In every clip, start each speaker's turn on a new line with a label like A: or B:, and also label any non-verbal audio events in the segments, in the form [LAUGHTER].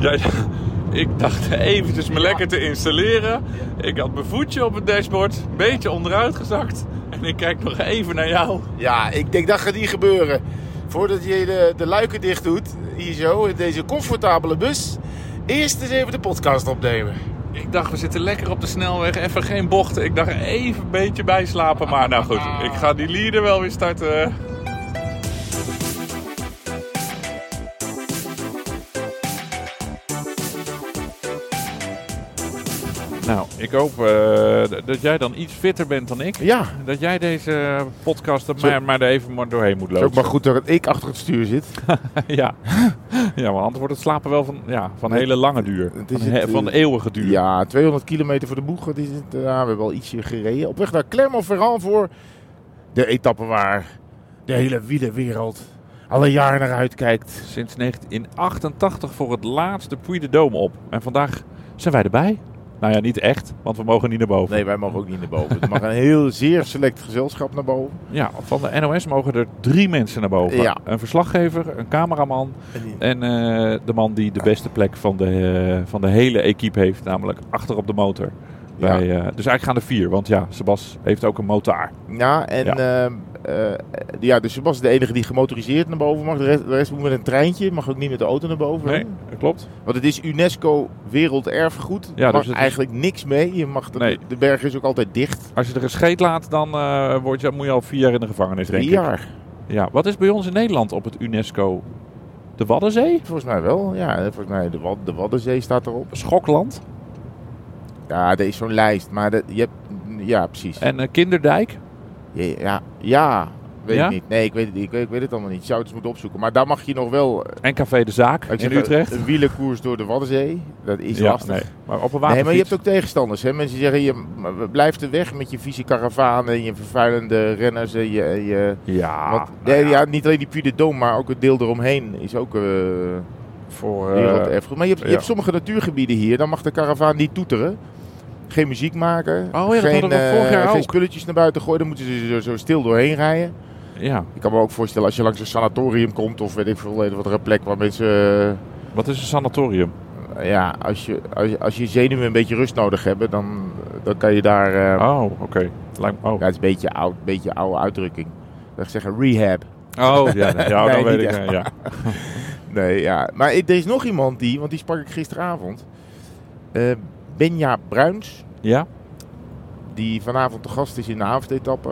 A: Jij, [LAUGHS] ik dacht eventjes me lekker te installeren. Ik had mijn voetje op het dashboard, een beetje onderuit gezakt. En ik kijk nog even naar jou.
B: Ja, ik denk dat gaat niet gebeuren. Voordat je de, de luiken dicht doet, hier zo, in deze comfortabele bus. Eerst eens even de podcast opnemen.
A: Ik dacht, we zitten lekker op de snelweg, even geen bochten. Ik dacht even een beetje bijslapen. Maar nou goed, ik ga die leader wel weer starten. Nou, ik hoop eh, d- dat jij dan iets fitter bent dan ik.
B: Ja,
A: Dat jij deze podcast er
B: Zo-
A: maar, maar er even maar doorheen moet
B: het is ook
A: lopen.
B: maar goed dat ik achter het stuur zit.
A: [LAUGHS] ja. ja, maar anders wordt het slapen wel van, ja, van hele lange duur.
B: Het is
A: Van, he-
B: het, eh,
A: van eeuwige duur.
B: Ja, 200 kilometer voor de boeg. Wat is het? Ja, we hebben wel ietsje gereden. Op weg naar Clermont-Ferrand voor de etappe waar de hele wielerwereld alle jaren naar uitkijkt.
A: Sinds 1988 voor het laatste Puy de Dome op. En vandaag zijn wij erbij. Nou ja, niet echt, want we mogen niet naar boven.
B: Nee, wij mogen ook niet naar boven. Het mag een heel zeer select gezelschap naar boven.
A: Ja, van de NOS mogen er drie mensen naar boven.
B: Ja.
A: Een verslaggever, een cameraman en eh, de man die de beste plek van de, eh, van de hele equipe heeft. Namelijk achter op de motor.
B: Ja.
A: Bij, eh, dus eigenlijk gaan er vier, want ja, Sebas heeft ook een motaar.
B: Ja, en
A: Ja.
B: ja. ja, dus Sebas is de enige die gemotoriseerd naar boven mag. De rest, de rest moet met een treintje, mag ook niet met de auto naar boven.
A: Nee, dat klopt.
B: Want het is UNESCO Werelderfgoed.
A: Ja,
B: Ja, mag
A: dus het is-
B: eigenlijk niks mee. Je mag de,
A: Nee.
B: de berg is ook altijd dicht.
A: Als je er een scheet laat, dan eh, word je, moet je al vier jaar in de gevangenis, denk
B: Drie
A: ik.
B: jaar.
A: Ja, wat is bij ons in Nederland op het UNESCO? De Waddenzee?
B: Volgens mij wel. Ja, volgens mij de, Wad- de Waddenzee staat erop.
A: Schokland?
B: Ja, er is zo'n lijst. Maar dat, je hebt, ja, precies.
A: En eh, Kinderdijk?
B: Ja, ja, ja, weet
A: Ja?
B: ik niet. Nee, ik weet het, ik, weet, ik weet het allemaal niet. Je zou het eens moeten opzoeken. Maar daar mag je nog wel eh,
A: En Café de Zaak
B: ik
A: in
B: zeg,
A: Utrecht?
B: een wielerkoers door de Waddenzee. Dat is lastig.
A: nee. Maar op een
B: Nee, maar je
A: waterfiets.
B: hebt ook tegenstanders. Hè? Mensen zeggen, je m- blijf er weg met je vieze karavaan en je vervuilende renners. En je, en je,
A: Ja,
B: want,
A: nou
B: nee,
A: ja,
B: ja, niet alleen die Puy de Dôme, maar ook het deel eromheen is ook eh
A: voor... eh,
B: werelderfgoed. Maar je hebt, je
A: ja.
B: hebt sommige natuurgebieden hier, dan mag de karavaan niet toeteren. Geen muziek maken.
A: Oh ja, dat
B: geen,
A: hadden we vorig
B: eh,
A: jaar
B: geen
A: ook.
B: spulletjes naar buiten gooien. Dan moeten ze zo, zo stil doorheen rijden.
A: ja,
B: Ik kan me ook voorstellen als je langs een sanatorium komt of weet ik veel, een of andere plek waar mensen... eh,
A: wat is een sanatorium?
B: ja, als je, als, je, als je zenuwen een beetje rust nodig hebben, dan, dan kan je daar... eh,
A: Oh, oké. Lijkt me- Oh.
B: Ja, het is een beetje, oud, beetje oude uitdrukking. Dat ik zeggen rehab.
A: oh, ja, nee,
B: [LAUGHS]
A: ja
B: Nee,
A: dan weet
B: niet
A: ik.
B: echt.
A: eh, Ja.
B: Nee, ja. Maar er is nog iemand die, want die sprak ik gisteravond. Eh, Benja Bruins,
A: ja?
B: die vanavond de gast is in de avondetappe.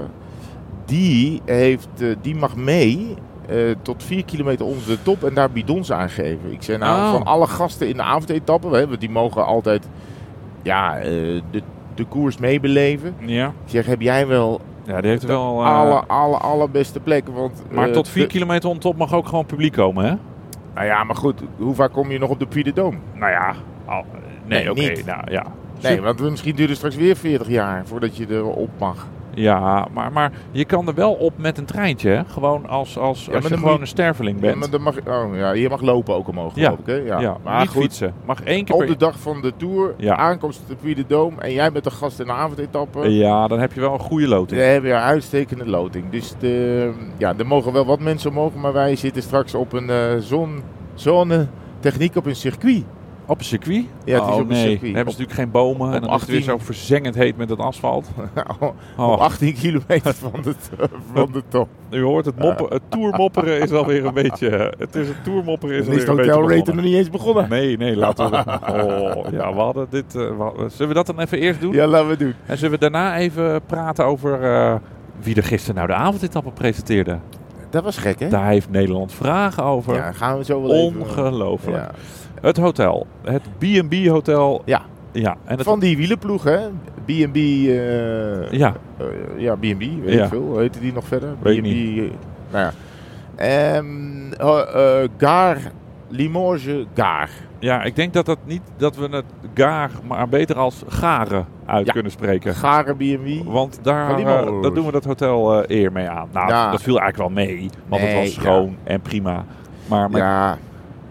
B: Die, heeft, eh, die mag mee eh, tot 4 kilometer onder de top en daar bidons aangeven. Ik zei nou,
A: Oh.
B: van alle gasten in de avondetappe, hè, want die mogen altijd ja, eh, de, de koers meebeleven.
A: Ja.
B: Ik zeg, heb jij wel
A: Ja, die heeft wel... eh,
B: alle, alle, allerbeste plekken? Want,
A: maar
B: eh,
A: tot 4
B: de-
A: kilometer on top mag ook gewoon publiek komen, hè?
B: Nou ja, maar goed, hoe vaak kom je nog op de Puy de Dôme?
A: Nou ja. al- nee,
B: Nee,
A: oké.
B: niet.
A: Nou, ja.
B: Nee, want misschien duurt het straks weer 40 jaar voordat je erop mag.
A: Ja, maar, maar je kan er wel op met een treintje, hè? Gewoon als, als,
B: Ja,
A: als
B: maar
A: je
B: dan
A: gewoon
B: moet-
A: een sterveling
B: Ja,
A: bent.
B: maar dan mag, oh, ja, je mag lopen ook omhoog,
A: Ja.
B: geloof ik. Hè? Ja.
A: Ja,
B: maar
A: niet
B: goed,
A: fietsen. Mag één keer
B: op
A: per...
B: de dag van de Tour,
A: Ja.
B: aankomst op de Puy de Dôme en jij bent de gast in de avondetappe.
A: Ja, dan heb je wel een goede
B: We
A: loting.
B: hebben een uitstekende loting. Dus de, ja, er mogen wel wat mensen omhoog, maar wij zitten straks op een eh, zon, zonne-techniek op een circuit. [LAUGHS]
A: Op een circuit?
B: Ja, het is
A: Oh,
B: op een
A: nee.
B: circuit.
A: Dan hebben ze natuurlijk geen bomen. en dan is
B: 18.
A: het weer zo verzengend heet met het asfalt.
B: [LAUGHS] Op
A: Oh,
B: 18 kilometer van de, van de top.
A: u hoort het moppen. Het toermopperen is alweer een beetje... eh, Het is het toermopperen is
B: Dan
A: alweer
B: is de
A: een beetje
B: hotelrater nog
A: begonnen.
B: niet eens begonnen.
A: Nee, nee,
B: [LAUGHS]
A: laten we... Oh, ja, we hadden dit... eh, we hadden- zullen we dat dan even eerst doen?
B: Ja, laten we doen.
A: En zullen we daarna even praten over... eh, wie er gisteren nou de avondetappe presenteerde?
B: Dat was gek, hè?
A: Daar heeft Nederland vragen over.
B: Ja, gaan we zo wel even... eh,
A: Ongelooflijk.
B: Ja.
A: Het hotel. Het B&B hotel.
B: Ja.
A: Ja. En het,
B: Van die wielenploeg, hè? B&B... eh,
A: ja.
B: eh, ja, B&B, weet
A: Ja.
B: ik veel. Hoe heette die nog verder?
A: Weet ik
B: B&B... eh, Nou ja. Ehm, eh, eh, Gare, Limoges, Gare.
A: ja, ik denk dat, dat, niet, dat we het gaar, maar beter als garen uit
B: Ja. kunnen
A: kunnen spreken.
B: Gare B&B.
A: Want daar
B: Van die
A: eh,
B: molens.
A: dat doen we dat hotel eh, eer mee aan. Nou,
B: Ja.
A: dat viel eigenlijk wel mee. Want het
B: Nee,
A: was schoon en prima. Maar, maar
B: Ja,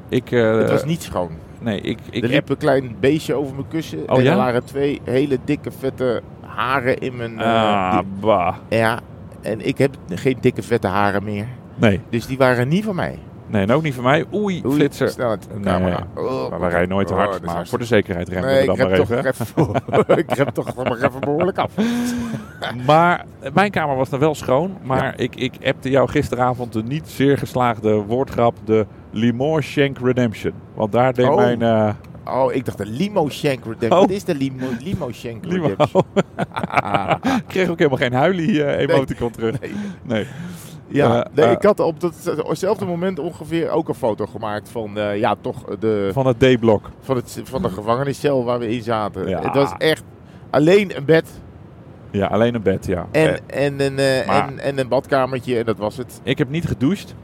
A: ik... eh,
B: het was niet schoon.
A: nee, ik, ik
B: er
A: heb...
B: liep een klein beestje over mijn kussen.
A: Oh,
B: en
A: ja?
B: er waren twee hele dikke, vette haren in mijn... eh,
A: Ah, bah.
B: die- ja, en ik heb geen dikke, vette haren meer.
A: Nee.
B: Dus die waren niet van mij.
A: Nee, en ook niet van mij. Oei,
B: Oei,
A: flitser.
B: snelheid.
A: Nee,
B: Camera. Oh,
A: Maar we rijden nooit te hard.
B: oh, dat is
A: maar voor de
B: hartstikke-
A: zekerheid remmen
B: Nee,
A: we
B: ik
A: dan maar
B: heb toch
A: even.
B: even, [LAUGHS] ik heb toch nog even behoorlijk af.
A: [LAUGHS] Maar eh, mijn kamer was dan wel schoon. Maar ik, ik appte jou gisteravond de niet zeer geslaagde woordgrap. De Limor Shank Redemption. Want daar deed
B: Oh.
A: mijn... eh,
B: Oh, ik dacht de limo shank redemption.
A: Oh.
B: Wat is de limo, limo shank
A: Limo. [LAUGHS]
B: redemption? [LAUGHS]
A: ik [LAUGHS] kreeg ook helemaal geen huilie eh emoticon terug.
B: Nee.
A: Nee.
B: Ja,
A: Eh,
B: nee,
A: eh.
B: ik had op datzelfde moment ongeveer ook een foto gemaakt van, eh, ja, toch de,
A: Van het D-blok.
B: van, het, van de gevangeniscel waar we in zaten.
A: Ja.
B: Het was echt alleen een bed
A: Ja, alleen een bed, ja.
B: en,
A: Eh,
B: en, een, eh,
A: maar-
B: en, en een badkamertje en dat was het.
A: ik heb niet gedoucht.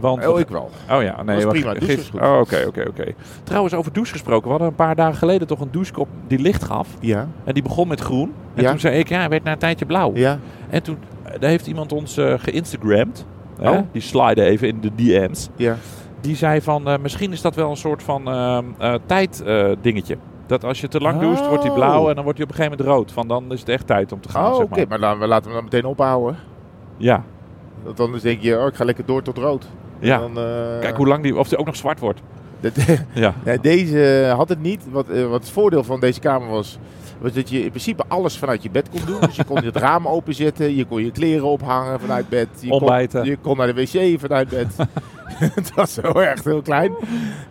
A: Want
B: Oh, ik wel.
A: Oh ja, nee,
B: was
A: wacht,
B: prima. Douche
A: gisteren-
B: was goed.
A: Oh, oké, oké, oké. Trouwens, over douche gesproken. We hadden een paar dagen geleden toch een douchekop die licht gaf.
B: Ja,
A: En die begon met groen. En
B: Ja.
A: toen zei ik, ja, hij werd na een tijdje blauw.
B: ja.
A: En toen eh, daar heeft iemand ons eh geïnstagramd. Hè?
B: Oh.
A: Die slide even in de DM's.
B: ja.
A: Die zei van, eh, misschien is dat wel een soort van ehm, tijddingetje. eh, dingetje. dat als je te lang doucht, wordt hij blauw
B: Oh.
A: en dan wordt hij op een gegeven moment rood. Van dan is het echt tijd om te gaan,
B: Oh, oké,
A: zeg maar.
B: maar laten we laten we hem dan meteen ophouden.
A: Ja,
B: Want anders denk je, oh, ik ga lekker door tot rood.
A: ja.
B: Dan, eh,
A: Kijk hoe lang die, of die ook nog zwart wordt.
B: dat- [LAUGHS]
A: Ja,
B: Ja, deze had het niet. Wat, eh, wat het voordeel van deze kamer was, was dat je in principe alles vanuit je bed kon doen. Dus je
A: [LAUGHS]
B: kon het raam openzetten, je kon je kleren ophangen vanuit bed. Je
A: Ontbijten.
B: Kon, je kon naar de wc vanuit
A: [LAUGHS]
B: bed. [LAUGHS] het was zo echt heel klein.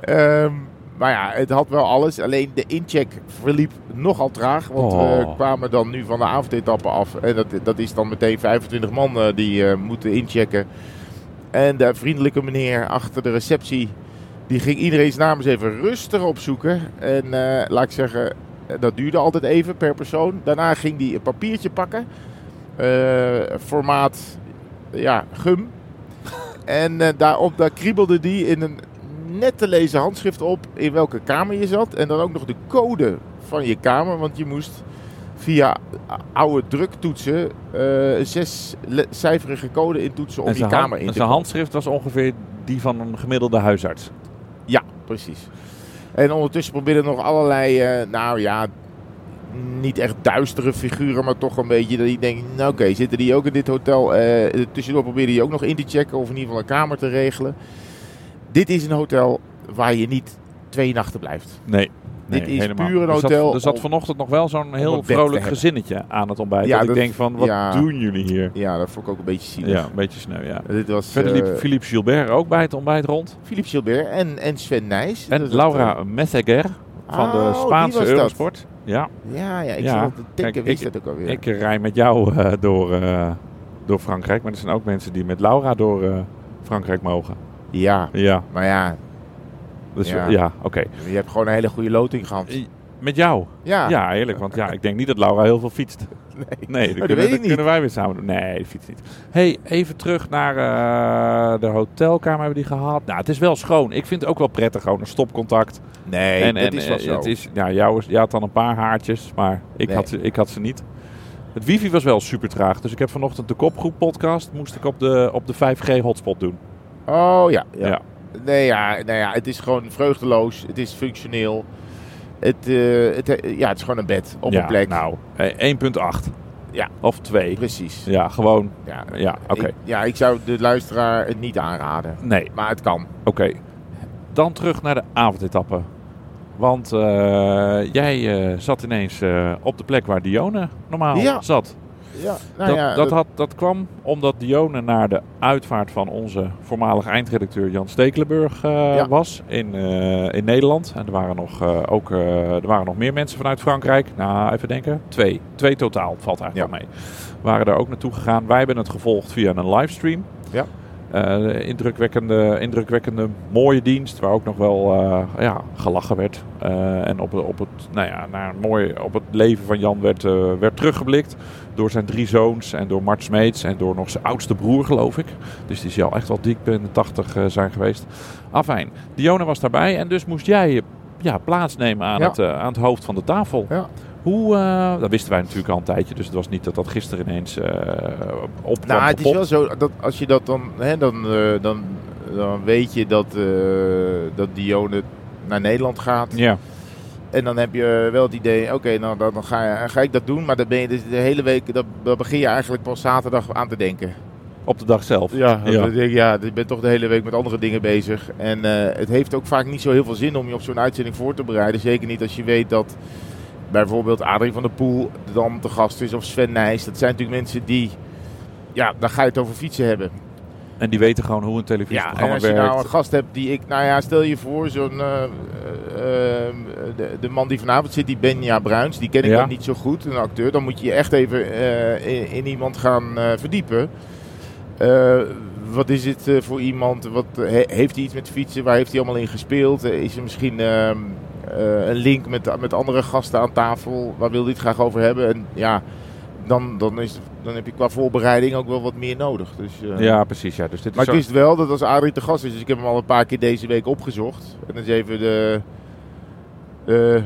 B: Ehm, maar ja, het had wel alles. Alleen de incheck verliep nogal traag. Want we
A: Oh.
B: kwamen dan nu van de avondetappe af. En dat, dat is dan meteen 25 man eh, die eh, moeten inchecken. En de vriendelijke meneer achter de receptie... Die ging iedereen's naam eens even rustig opzoeken. En eh, laat ik zeggen, eh, dat duurde altijd even per persoon. Daarna ging hij een papiertje pakken. eh, formaat, ja, gum. en eh, daarop daar kriebelde die in een net te lezen handschrift op in welke kamer je zat. En dan ook nog de code van je kamer. Want je moest via oude druktoetsen eh, een zescijferige code intoetsen om
A: en
B: je
A: zijn,
B: kamer
A: hand-
B: in te
A: zijn handschrift was ongeveer die van een gemiddelde huisarts.
B: ja, precies. En ondertussen proberen nog allerlei, eh, nou ja, niet echt duistere figuren, maar toch een beetje dat ik denk, nou oké, zitten die ook in dit hotel? Eh, tussendoor proberen die ook nog in te checken of in ieder geval een kamer te regelen. Dit is een hotel waar je niet twee nachten blijft.
A: Nee.
B: Dit
A: nee,
B: is
A: helemaal.
B: puur een
A: Er zat-
B: hotel
A: Er zat,
B: om-
A: vanochtend nog wel zo'n
B: een
A: heel
B: bed te
A: vrolijk
B: hebben.
A: gezinnetje aan het ontbijt.
B: Ja,
A: dat,
B: dat-
A: ik denk van, wat
B: ja.
A: doen jullie hier?
B: Ja, dat vond ik ook een beetje zielig.
A: Ja, een beetje sneu, ja.
B: Dit was
A: Verder liep
B: eh,
A: Philippe Gilbert ook bij het ontbijt rond.
B: Philippe Gilbert en, en Sven Nijs. Dat
A: En
B: was,
A: Laura Meseguer van
B: Oh,
A: de
B: die
A: Spaanse
B: was dat.
A: Eurosport. Ja,
B: eh, ja, ja, ik
A: Ja.
B: zat al te denken,
A: Kijk,
B: wie is
A: ik-
B: dat ook alweer?
A: ik rij met jou eh, door, eh, door Frankrijk. Maar er zijn ook mensen die met Laura door eh, Frankrijk mogen.
B: Ja,
A: Ja,
B: maar ja,
A: dus ja,
B: Ja.
A: oké.
B: je hebt gewoon een hele goede loting gehad.
A: I- Met jou?
B: Ja,
A: Ja, eerlijk. Want ja, ik denk niet dat Laura heel veel fietst.
B: [LAUGHS] Nee. Oh,
A: Nee, dat,
B: dat
A: kunnen,
B: weet ik
A: dat
B: niet.
A: kunnen wij weer samen doen. Nee, die fiets niet. hey, even terug naar eh, de hotelkamer hebben we die gehad. Nou, het is wel schoon. Ik vind het ook wel prettig, gewoon een stopcontact.
B: nee,
A: en,
B: dat
A: en,
B: is wel
A: eh,
B: zo.
A: Het is, nou, jou, is- jij had dan een paar haartjes, maar ik,
B: Nee.
A: had, ze- ik had ze niet. Het wifi was wel super traag, dus ik heb vanochtend de kopgroep podcast moest ik op de, op de 5G hotspot doen.
B: Oh ja. ja.
A: Ja.
B: Nee, ja, nou ja, het is gewoon vreugdeloos. Het is functioneel. Het, eh, het, eh, ja, het is gewoon een bed op
A: ja,
B: een plek.
A: Nou, eh, 1.8.
B: Ja.
A: Of 2.
B: Precies.
A: Ja, gewoon.
B: Ja,
A: Ja, oké.
B: Ik, ja, ik zou de luisteraar het niet aanraden.
A: Nee,
B: Maar het kan.
A: Oké, dan terug naar de avondetappe. Want eh, jij eh, zat ineens eh, op de plek waar Dione normaal
B: Ja.
A: zat.
B: Ja, nou
A: dat,
B: ja,
A: dat, had, dat kwam omdat Dione naar de uitvaart van onze voormalig eindredacteur Jan Stekelenburg eh,
B: Ja.
A: was in, eh, in Nederland. En er waren, nog, eh, ook, eh, er waren nog meer mensen vanuit Frankrijk. Nou, even denken. Twee. Twee totaal valt eigenlijk
B: Ja.
A: wel mee. Waren daar ook naartoe gegaan. Wij hebben het gevolgd via een livestream.
B: Ja.
A: Eh, indrukwekkende, indrukwekkende, mooie dienst. Waar ook nog wel eh, ja, gelachen werd. Eh, en op, op, het, nou ja, naar een mooi, op het leven van Jan werd, eh, werd teruggeblikt. Door zijn drie zoons en door Mart Smeets en door nog zijn oudste broer, geloof ik. Dus die zal echt wel diep in de tachtig eh, zijn geweest. Afijn, Dione was daarbij en dus moest jij eh, ja, plaatsnemen aan,
B: Ja.
A: het, eh, aan het hoofd van de tafel.
B: Ja.
A: Hoe, eh, dat wisten wij natuurlijk al een tijdje, dus het was niet dat dat gisteren ineens eh op
B: Nou, het is wel zo dat als je dat dan, hè, dan, eh, dan, dan weet je dat, eh, dat Dione naar Nederland gaat.
A: Ja,
B: En dan heb je wel het idee, oké, nou, dan, dan ga, je- ga ik dat doen. Maar dan ben je dus de hele week, dat, daar begin je eigenlijk pas zaterdag aan te denken.
A: op de dag zelf.
B: Ja,
A: Ja.
B: dat- ja, je bent toch de hele week met andere dingen bezig. En eh, het heeft ook vaak niet zo heel veel zin om je op zo'n uitzending voor te bereiden. Zeker niet als je weet dat bijvoorbeeld Adrie van der Poel dan te gast is of Sven Nijs. Dat zijn natuurlijk mensen die, ja, daar ga je het over fietsen hebben.
A: En die weten gewoon hoe een
B: Ja, en
A: televisieprogramma
B: als je
A: werkt.
B: nou een gast hebt die ik, nou ja, stel je voor zo'n, eh, eh, de, de man die vanavond zit, die Benja Bruins, die ken ik
A: Ja.
B: dan niet zo goed, een acteur. Dan moet je je echt even eh, in, in iemand gaan eh, verdiepen. Eh, wat is het eh, voor iemand? Wat, he- heeft hij iets met fietsen? Waar heeft hij allemaal in gespeeld? Eh, is er misschien eh, eh, een link met, met andere gasten aan tafel? Waar wil hij het graag over hebben? En ja, dan, dan, is, dan heb je qua voorbereiding ook wel wat meer nodig. Dus, eh,
A: Ja, precies. Ja. Dus dit is
B: maar ik
A: zo-
B: wist wel dat als Adrie te gast is, dus ik heb hem al een paar keer deze week opgezocht. En eens even de, de,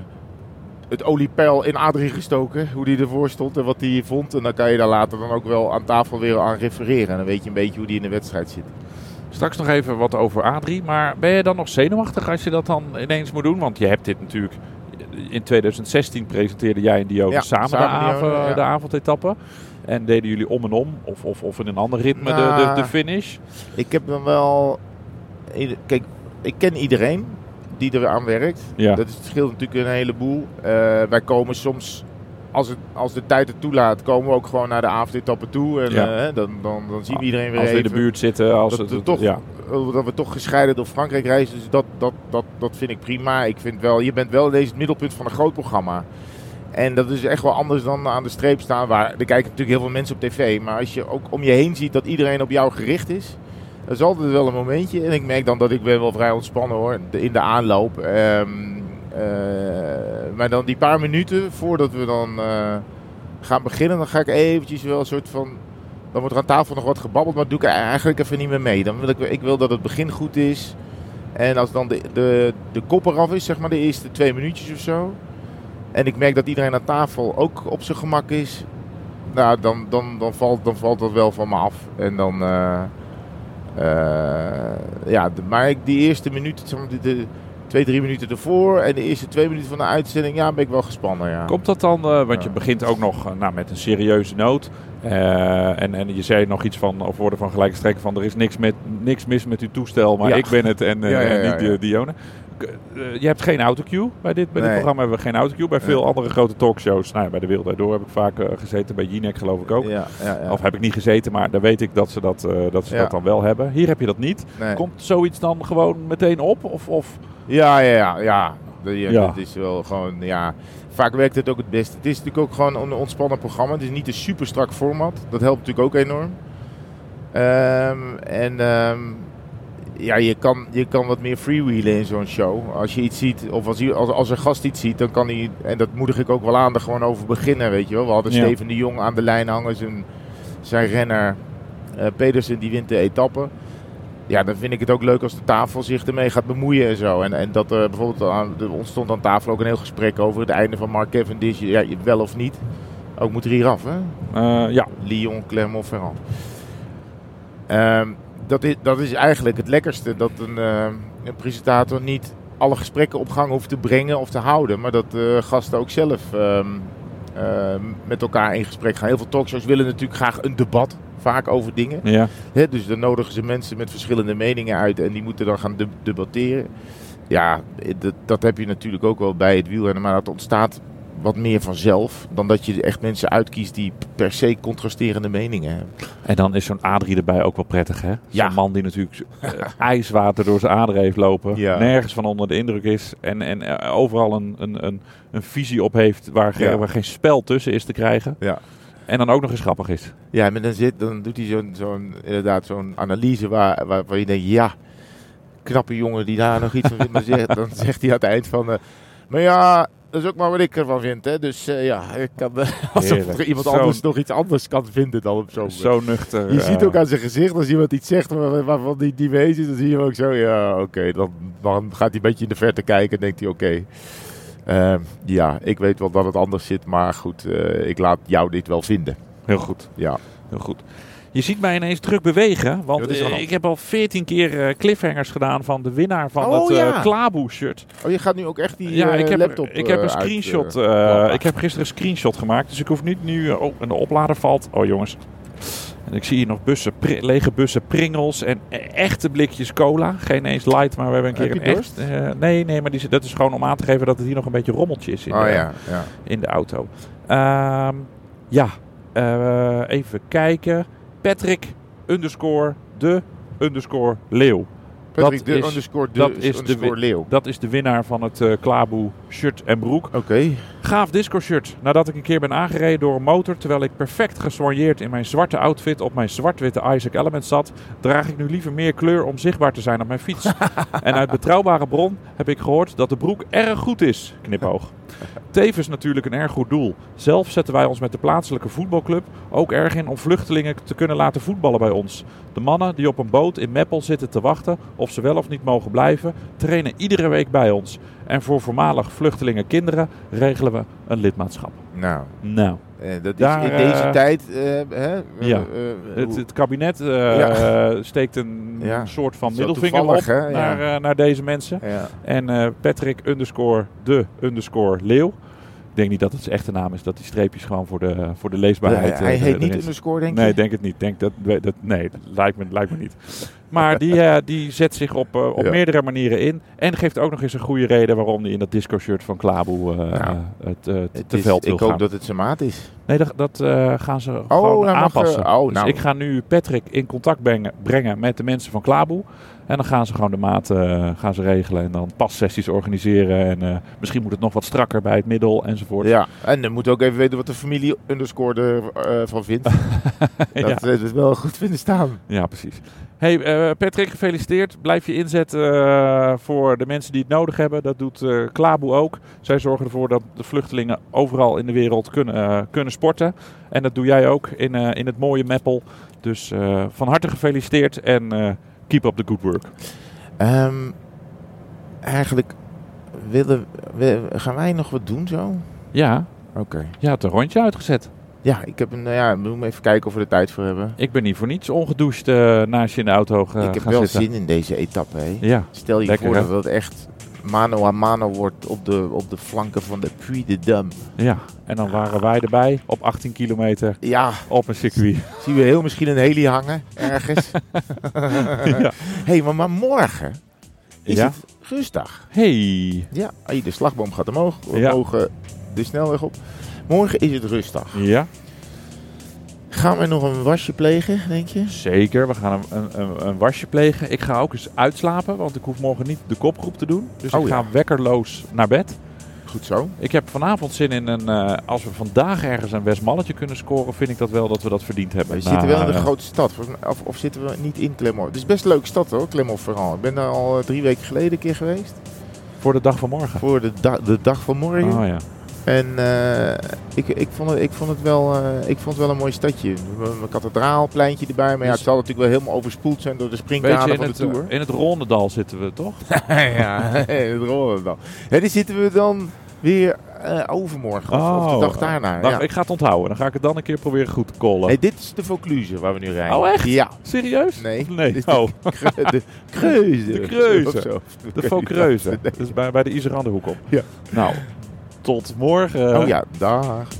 B: het oliepeil in Adrie gestoken, hoe die ervoor stond en wat hij vond. En dan kan je daar later dan ook wel aan tafel weer aan refereren. En dan weet je een beetje hoe die in de wedstrijd zit.
A: Straks nog even wat over Adrie. Maar ben je dan nog zenuwachtig als je dat dan ineens moet doen? Want je hebt dit natuurlijk... In 2016 presenteerde jij en Diogo
B: Ja,
A: samen,
B: samen
A: de, avond,
B: Diogo, ja.
A: de avondetappe. En deden jullie om en om, of, of, of in een ander ritme, de, de,
B: Nou.
A: de finish.
B: Ik heb hem wel... Kijk, ik ken iedereen die er aan werkt.
A: Ja,
B: Dat is, het scheelt natuurlijk een heleboel. Eh, wij komen soms, als, het, als de tijd het toelaat, komen we ook gewoon naar de avondetappe toe. En
A: Ja.
B: eh, hè, dan, dan, dan zien we iedereen weer
A: als we in
B: even.
A: de buurt zitten. Als
B: dat,
A: het,
B: we toch,
A: ja.
B: eh, dat we toch gescheiden door Frankrijk reizen. Dus dat, dat, dat, dat vind ik prima. Ik vind wel, je bent wel ineens het middelpunt van een groot programma. En dat is echt wel anders dan aan de streep staan. Waar, er kijken natuurlijk heel veel mensen op tv. Maar als je ook om je heen ziet dat iedereen op jou gericht is. Dat is altijd wel een momentje. En ik merk dan dat ik ben wel vrij ontspannen hoor. de- In de aanloop. Ehm, eh, maar dan die paar minuten voordat we dan eh, gaan beginnen. Dan ga ik eventjes wel een soort van dan wordt er aan tafel nog wat gebabbeld, maar doe ik e- eigenlijk even niet meer mee. Dan wil ik, ik wil dat het begin goed is. En als dan de, de, de kop eraf is, zeg maar de eerste twee minuutjes of zo. En ik merk dat iedereen aan tafel ook op zijn gemak is. Nou, dan, dan, dan, valt, dan valt dat wel van me af. En dan. eh, eh, ja, de- maar ik, die eerste minuut, zeg maar, de, de twee, drie minuten ervoor. En de eerste twee minuten van de uitzending, ja, ben ik wel gespannen. Ja.
A: Komt dat dan, eh, want je
B: Ja.
A: begint ook nog eh, nou, met een serieuze noot. Eh, en, en je zei nog iets van, of woorden van gelijke strekken van... er is niks, met, niks mis met uw toestel, maar
B: Ja.
A: ik ben het en, eh,
B: [LAUGHS] Ja, ja,
A: en
B: ja,
A: niet
B: ja.
A: eh, Dione. K- eh, je hebt geen autocue bij dit, bij dit
B: Nee.
A: programma hebben we geen autocue. Bij veel
B: Nee.
A: andere grote talkshows, nou, ja, bij de Wereld Draait Door heb ik vaak eh, gezeten. Bij Jinek geloof ik ook.
B: Ja, ja, ja.
A: Of heb ik niet gezeten, maar dan weet ik dat ze dat, eh, dat, ze
B: Ja.
A: dat dan wel hebben. Hier heb je dat niet.
B: Nee.
A: Komt zoiets dan gewoon meteen op? Of, of
B: Ja, ja, ja. ja. Dat, ja,
A: Ja.
B: dat is wel gewoon, ja. Vaak werkt het ook het beste. Het is natuurlijk ook gewoon een ontspannen programma. Het is niet een super strak format. Dat helpt natuurlijk ook enorm. Ehm, en ehm, ja, je kan, je kan wat meer freewheelen in zo'n show. Als je iets ziet, of als, je- als, als een gast iets ziet, dan kan hij, en dat moedig ik ook wel aan, er gewoon over beginnen, weet je wel. We hadden
A: Ja.
B: Steven de Jong aan de lijn hangen, zijn, zijn renner. Eh, Pedersen die wint de etappe. Ja, dan vind ik het ook leuk als de tafel zich ermee gaat bemoeien en zo. En, en dat er bijvoorbeeld aan, er ontstond aan tafel ook een heel gesprek over het einde van Mark Cavendish. Ja, je- wel of niet. Ook moet er hier af, hè?
A: eh, ja,
B: Lyon, Clermont-Ferrand. Ehm, dat, is, dat is eigenlijk het lekkerste. Dat een, ehm, een presentator niet alle gesprekken op gang hoeft te brengen of te houden. Maar dat eh, gasten ook zelf ehm, ehm, met elkaar in gesprek gaan. Heel veel talkshows willen natuurlijk graag een debat. Vaak over dingen.
A: ja.
B: Hè, dus dan nodigen ze mensen met verschillende meningen uit en die moeten dan gaan deb- debatteren. Ja, eh, dat, dat heb je natuurlijk ook wel bij het wielrennen, maar dat ontstaat wat meer vanzelf dan dat je echt mensen uitkiest die per se contrasterende meningen hebben.
A: En dan is zo'n Adrie erbij ook wel prettig, hè? Zo'n
B: Ja.
A: man die natuurlijk eh, ijswater door zijn aderen heeft lopen.
B: Ja.
A: Nergens van onder de indruk is. En, en eh, overal een, een, een, een visie op heeft waar, ge-
B: Ja.
A: waar geen spel tussen is te krijgen.
B: Ja.
A: En dan ook nog eens grappig is.
B: Ja, maar dan, zit, dan doet hij zo'n, zo'n, inderdaad zo'n analyse waar, waar, waar je denkt, ja, knappe jongen die daar nog iets van vindt. Maar
A: [LAUGHS]
B: zegt, dan zegt hij aan het eind van, eh, maar ja, dat is ook maar wat ik ervan vind. Hè. Dus eh, ja, ik kan, eh, [LAUGHS] alsof
A: Heerlijk.
B: er iemand
A: Zo'n-
B: anders nog iets anders kan vinden dan op zo'n moment.
A: Zo nuchter.
B: Je
A: eh,
B: ziet ook aan zijn gezicht, als iemand iets zegt waar- waarvan die niet weet is, dan zie je hem ook zo, ja, oké. Dan, dan gaat hij een beetje in de verte kijken en denkt hij, oké. ehm, ja, ik weet wel dat het anders zit, maar goed, eh, ik laat jou dit wel vinden.
A: Heel goed,
B: Ja.
A: heel goed. Je ziet mij ineens druk bewegen, want
B: Ja, wat is er aan de
A: eh,
B: hand?
A: ik heb al veertien keer eh, cliffhangers gedaan van de winnaar van
B: Oh,
A: dat eh
B: ja.
A: Klaboe-shirt.
B: Oh, je gaat nu ook echt die
A: Ja,
B: eh,
A: ik heb,
B: laptop
A: ik heb
B: eh,
A: een
B: uit,
A: screenshot.
B: eh,
A: eh,
B: klappen.
A: ik heb gisteren een screenshot gemaakt, dus ik hoef niet nu. eh, Oh, en de oplader valt. Oh, jongens. En ik zie hier nog bussen, pri- lege bussen Pringles en e- echte blikjes cola. Geen eens light, maar we hebben een keer
B: Heb je
A: een echt.
B: dorst?
A: eh, nee, nee, maar die, dat is gewoon om aan te geven dat het hier nog een beetje rommeltje is in,
B: Oh
A: de,
B: ja, ja.
A: in de auto. Ehm, ja, eh, even kijken. Patrick underscore de underscore leeuw.
B: Patrick
A: Dat
B: de
A: is-
B: underscore de
A: dat is de
B: underscore
A: wi-
B: leeuw.
A: Dat is de winnaar van het eh Klaboe shirt en broek.
B: Oké.
A: Gaaf disco shirt. Nadat ik een keer ben aangereden door een motor terwijl ik perfect gesoigneerd in mijn zwarte outfit op mijn zwart-witte Isaac Element zat, draag ik nu liever meer kleur om zichtbaar te zijn op mijn fiets. en uit betrouwbare bron heb ik gehoord dat de broek erg goed is. Knipoog. Tevens natuurlijk een erg goed doel. Zelf zetten wij ons met de plaatselijke voetbalclub ook erg in om vluchtelingen te kunnen laten voetballen bij ons. De mannen die op een boot in Meppel zitten te wachten of ze wel of niet mogen blijven, trainen iedere week bij ons. En voor voormalig vluchtelingen kinderen regelen we een lidmaatschap.
B: Nou,
A: Nou,
B: eh, dat is
A: Daar,
B: in deze
A: eh,
B: tijd... eh, hè,
A: Ja.
B: eh, eh,
A: het,
B: hoe-
A: het kabinet eh,
B: Ja.
A: steekt een
B: Ja.
A: soort van
B: Zo
A: middelvinger op
B: toevallig, hè? Ja.
A: naar, eh, naar deze mensen.
B: ja.
A: En eh, Patrick underscore de underscore leeuw. Ik denk niet dat het zijn echte naam is, dat die streepjes gewoon voor de, voor de leesbaarheid.
B: hij
A: eh,
B: heet
A: erin
B: niet
A: zitten.
B: underscore, denk
A: Nee,
B: je?
A: denk het niet. Denk dat, we- dat, nee, dat lijkt me, lijkt me niet. Maar die, eh, die zet zich op, eh, op
B: Ja.
A: meerdere manieren in. En geeft ook nog eens een goede reden waarom hij in dat disco-shirt van Klaboe eh,
B: Nou,
A: het, eh, te-
B: Het
A: te
B: is-
A: veld wil
B: ik hoop
A: gaan.
B: dat het zijn maat is.
A: Nee, dat, dat eh, gaan ze gewoon
B: hij mag,
A: aanpassen.
B: eh, oh, nou.
A: Dus ik ga nu Patrick in contact brengen, brengen met de mensen van Klaboe. En dan gaan ze gewoon de maat eh, gaan ze regelen. En dan passessies organiseren. En eh, misschien moet het nog wat strakker bij het middel enzovoort.
B: Ja, en dan moet ook even weten wat de familie underscore er eh, van
A: [LAUGHS]
B: vindt. eh,
A: Ja.
B: Dat ze het wel goed vinden staan.
A: Ja, precies. Hey eh, Patrick, gefeliciteerd. Blijf je inzetten eh, voor de mensen die het nodig hebben. Dat doet eh Klaboe ook. Zij zorgen ervoor dat de vluchtelingen overal in de wereld kunnen, eh, kunnen sporten. En dat doe jij ook in, eh, in het mooie Meppel. Dus eh, van harte gefeliciteerd en eh, keep up the good work.
B: Ehm, eigenlijk willen, we- gaan wij nog wat doen zo?
A: Ja,
B: Oké.
A: je had een rondje uitgezet.
B: Ja, ik heb een, nou ja, we moeten even kijken of we er tijd voor hebben.
A: Ik ben hier voor niets ongedoucht eh, naast je in de auto ge-
B: ik heb
A: gaan
B: wel
A: zitten.
B: zin in deze etappe. Hè.
A: Ja,
B: Stel je
A: Lekker,
B: voor
A: hè?
B: dat het echt mano a mano wordt op de, op de flanken van de Puy de Dam.
A: ja, en dan waren wij erbij op 18 kilometer
B: Ja,
A: op een circuit.
B: zien we heel misschien een heli hangen ergens.
A: [LAUGHS]
B: [LAUGHS]
A: ja.
B: hey, maar, maar morgen is
A: Ja.
B: het rustdag.
A: Hey.
B: Ja, hey, de slagboom gaat omhoog. We
A: Ja.
B: mogen de snelweg op. Morgen is het rustdag.
A: Ja.
B: Gaan we nog een wasje plegen, denk je?
A: Zeker, we gaan een, een, een, een wasje plegen. Ik ga ook eens uitslapen, want ik hoef morgen niet de kopgroep te doen. Dus
B: Oh
A: ik ga
B: ja.
A: wekkerloos naar bed.
B: Goed zo.
A: Ik heb vanavond zin in een... eh, als we vandaag ergens een Westmalletje kunnen scoren, vind ik dat wel dat we dat verdiend hebben.
B: We
A: Na,
B: zitten wel in de
A: eh,
B: grote stad. Volgens mij- Of, of zitten we niet in Clermont? Het is best een leuke stad hoor, Clermont-Ferrand. Ik ben daar al eh, drie weken geleden een keer geweest.
A: eh, Voor de dag van morgen.
B: Voor de, da- de dag van morgen.
A: Oh ja.
B: En eh, ik, ik, vond het, ik, vond het wel, eh, ik vond het wel een mooi stadje. Een kathedraalpleintje erbij. Maar ja, het zal natuurlijk wel helemaal overspoeld zijn door de
A: Weet je,
B: springkanen
A: in
B: van
A: het,
B: de Tour.
A: in het Rondendal zitten we, toch?
B: [LAUGHS]
A: [LAUGHS]
B: ja, dat rollen we dan. En dan zitten we dan weer eh, overmorgen of, of
A: Oh,
B: de dag daarna.
A: Nou,
B: ja.
A: Ik ga het onthouden. Dan ga ik het dan een keer proberen goed te kollen.
B: Nee, dit is de Vaucluse waar we nu rijden.
A: Oh, echt? [LAUGHS]
B: Ja.
A: Serieus?
B: Nee.
A: Of
B: Dit is
A: Nee.
B: de-
A: Oh,
B: [LAUGHS] De Kreuze.
A: De Kreuze.
B: Of zo.
A: de Faucreuze. Dat is bij, bij de Iseranderhoek op.
B: Ja.
A: Nou, tot morgen.
B: Oh ja, dag.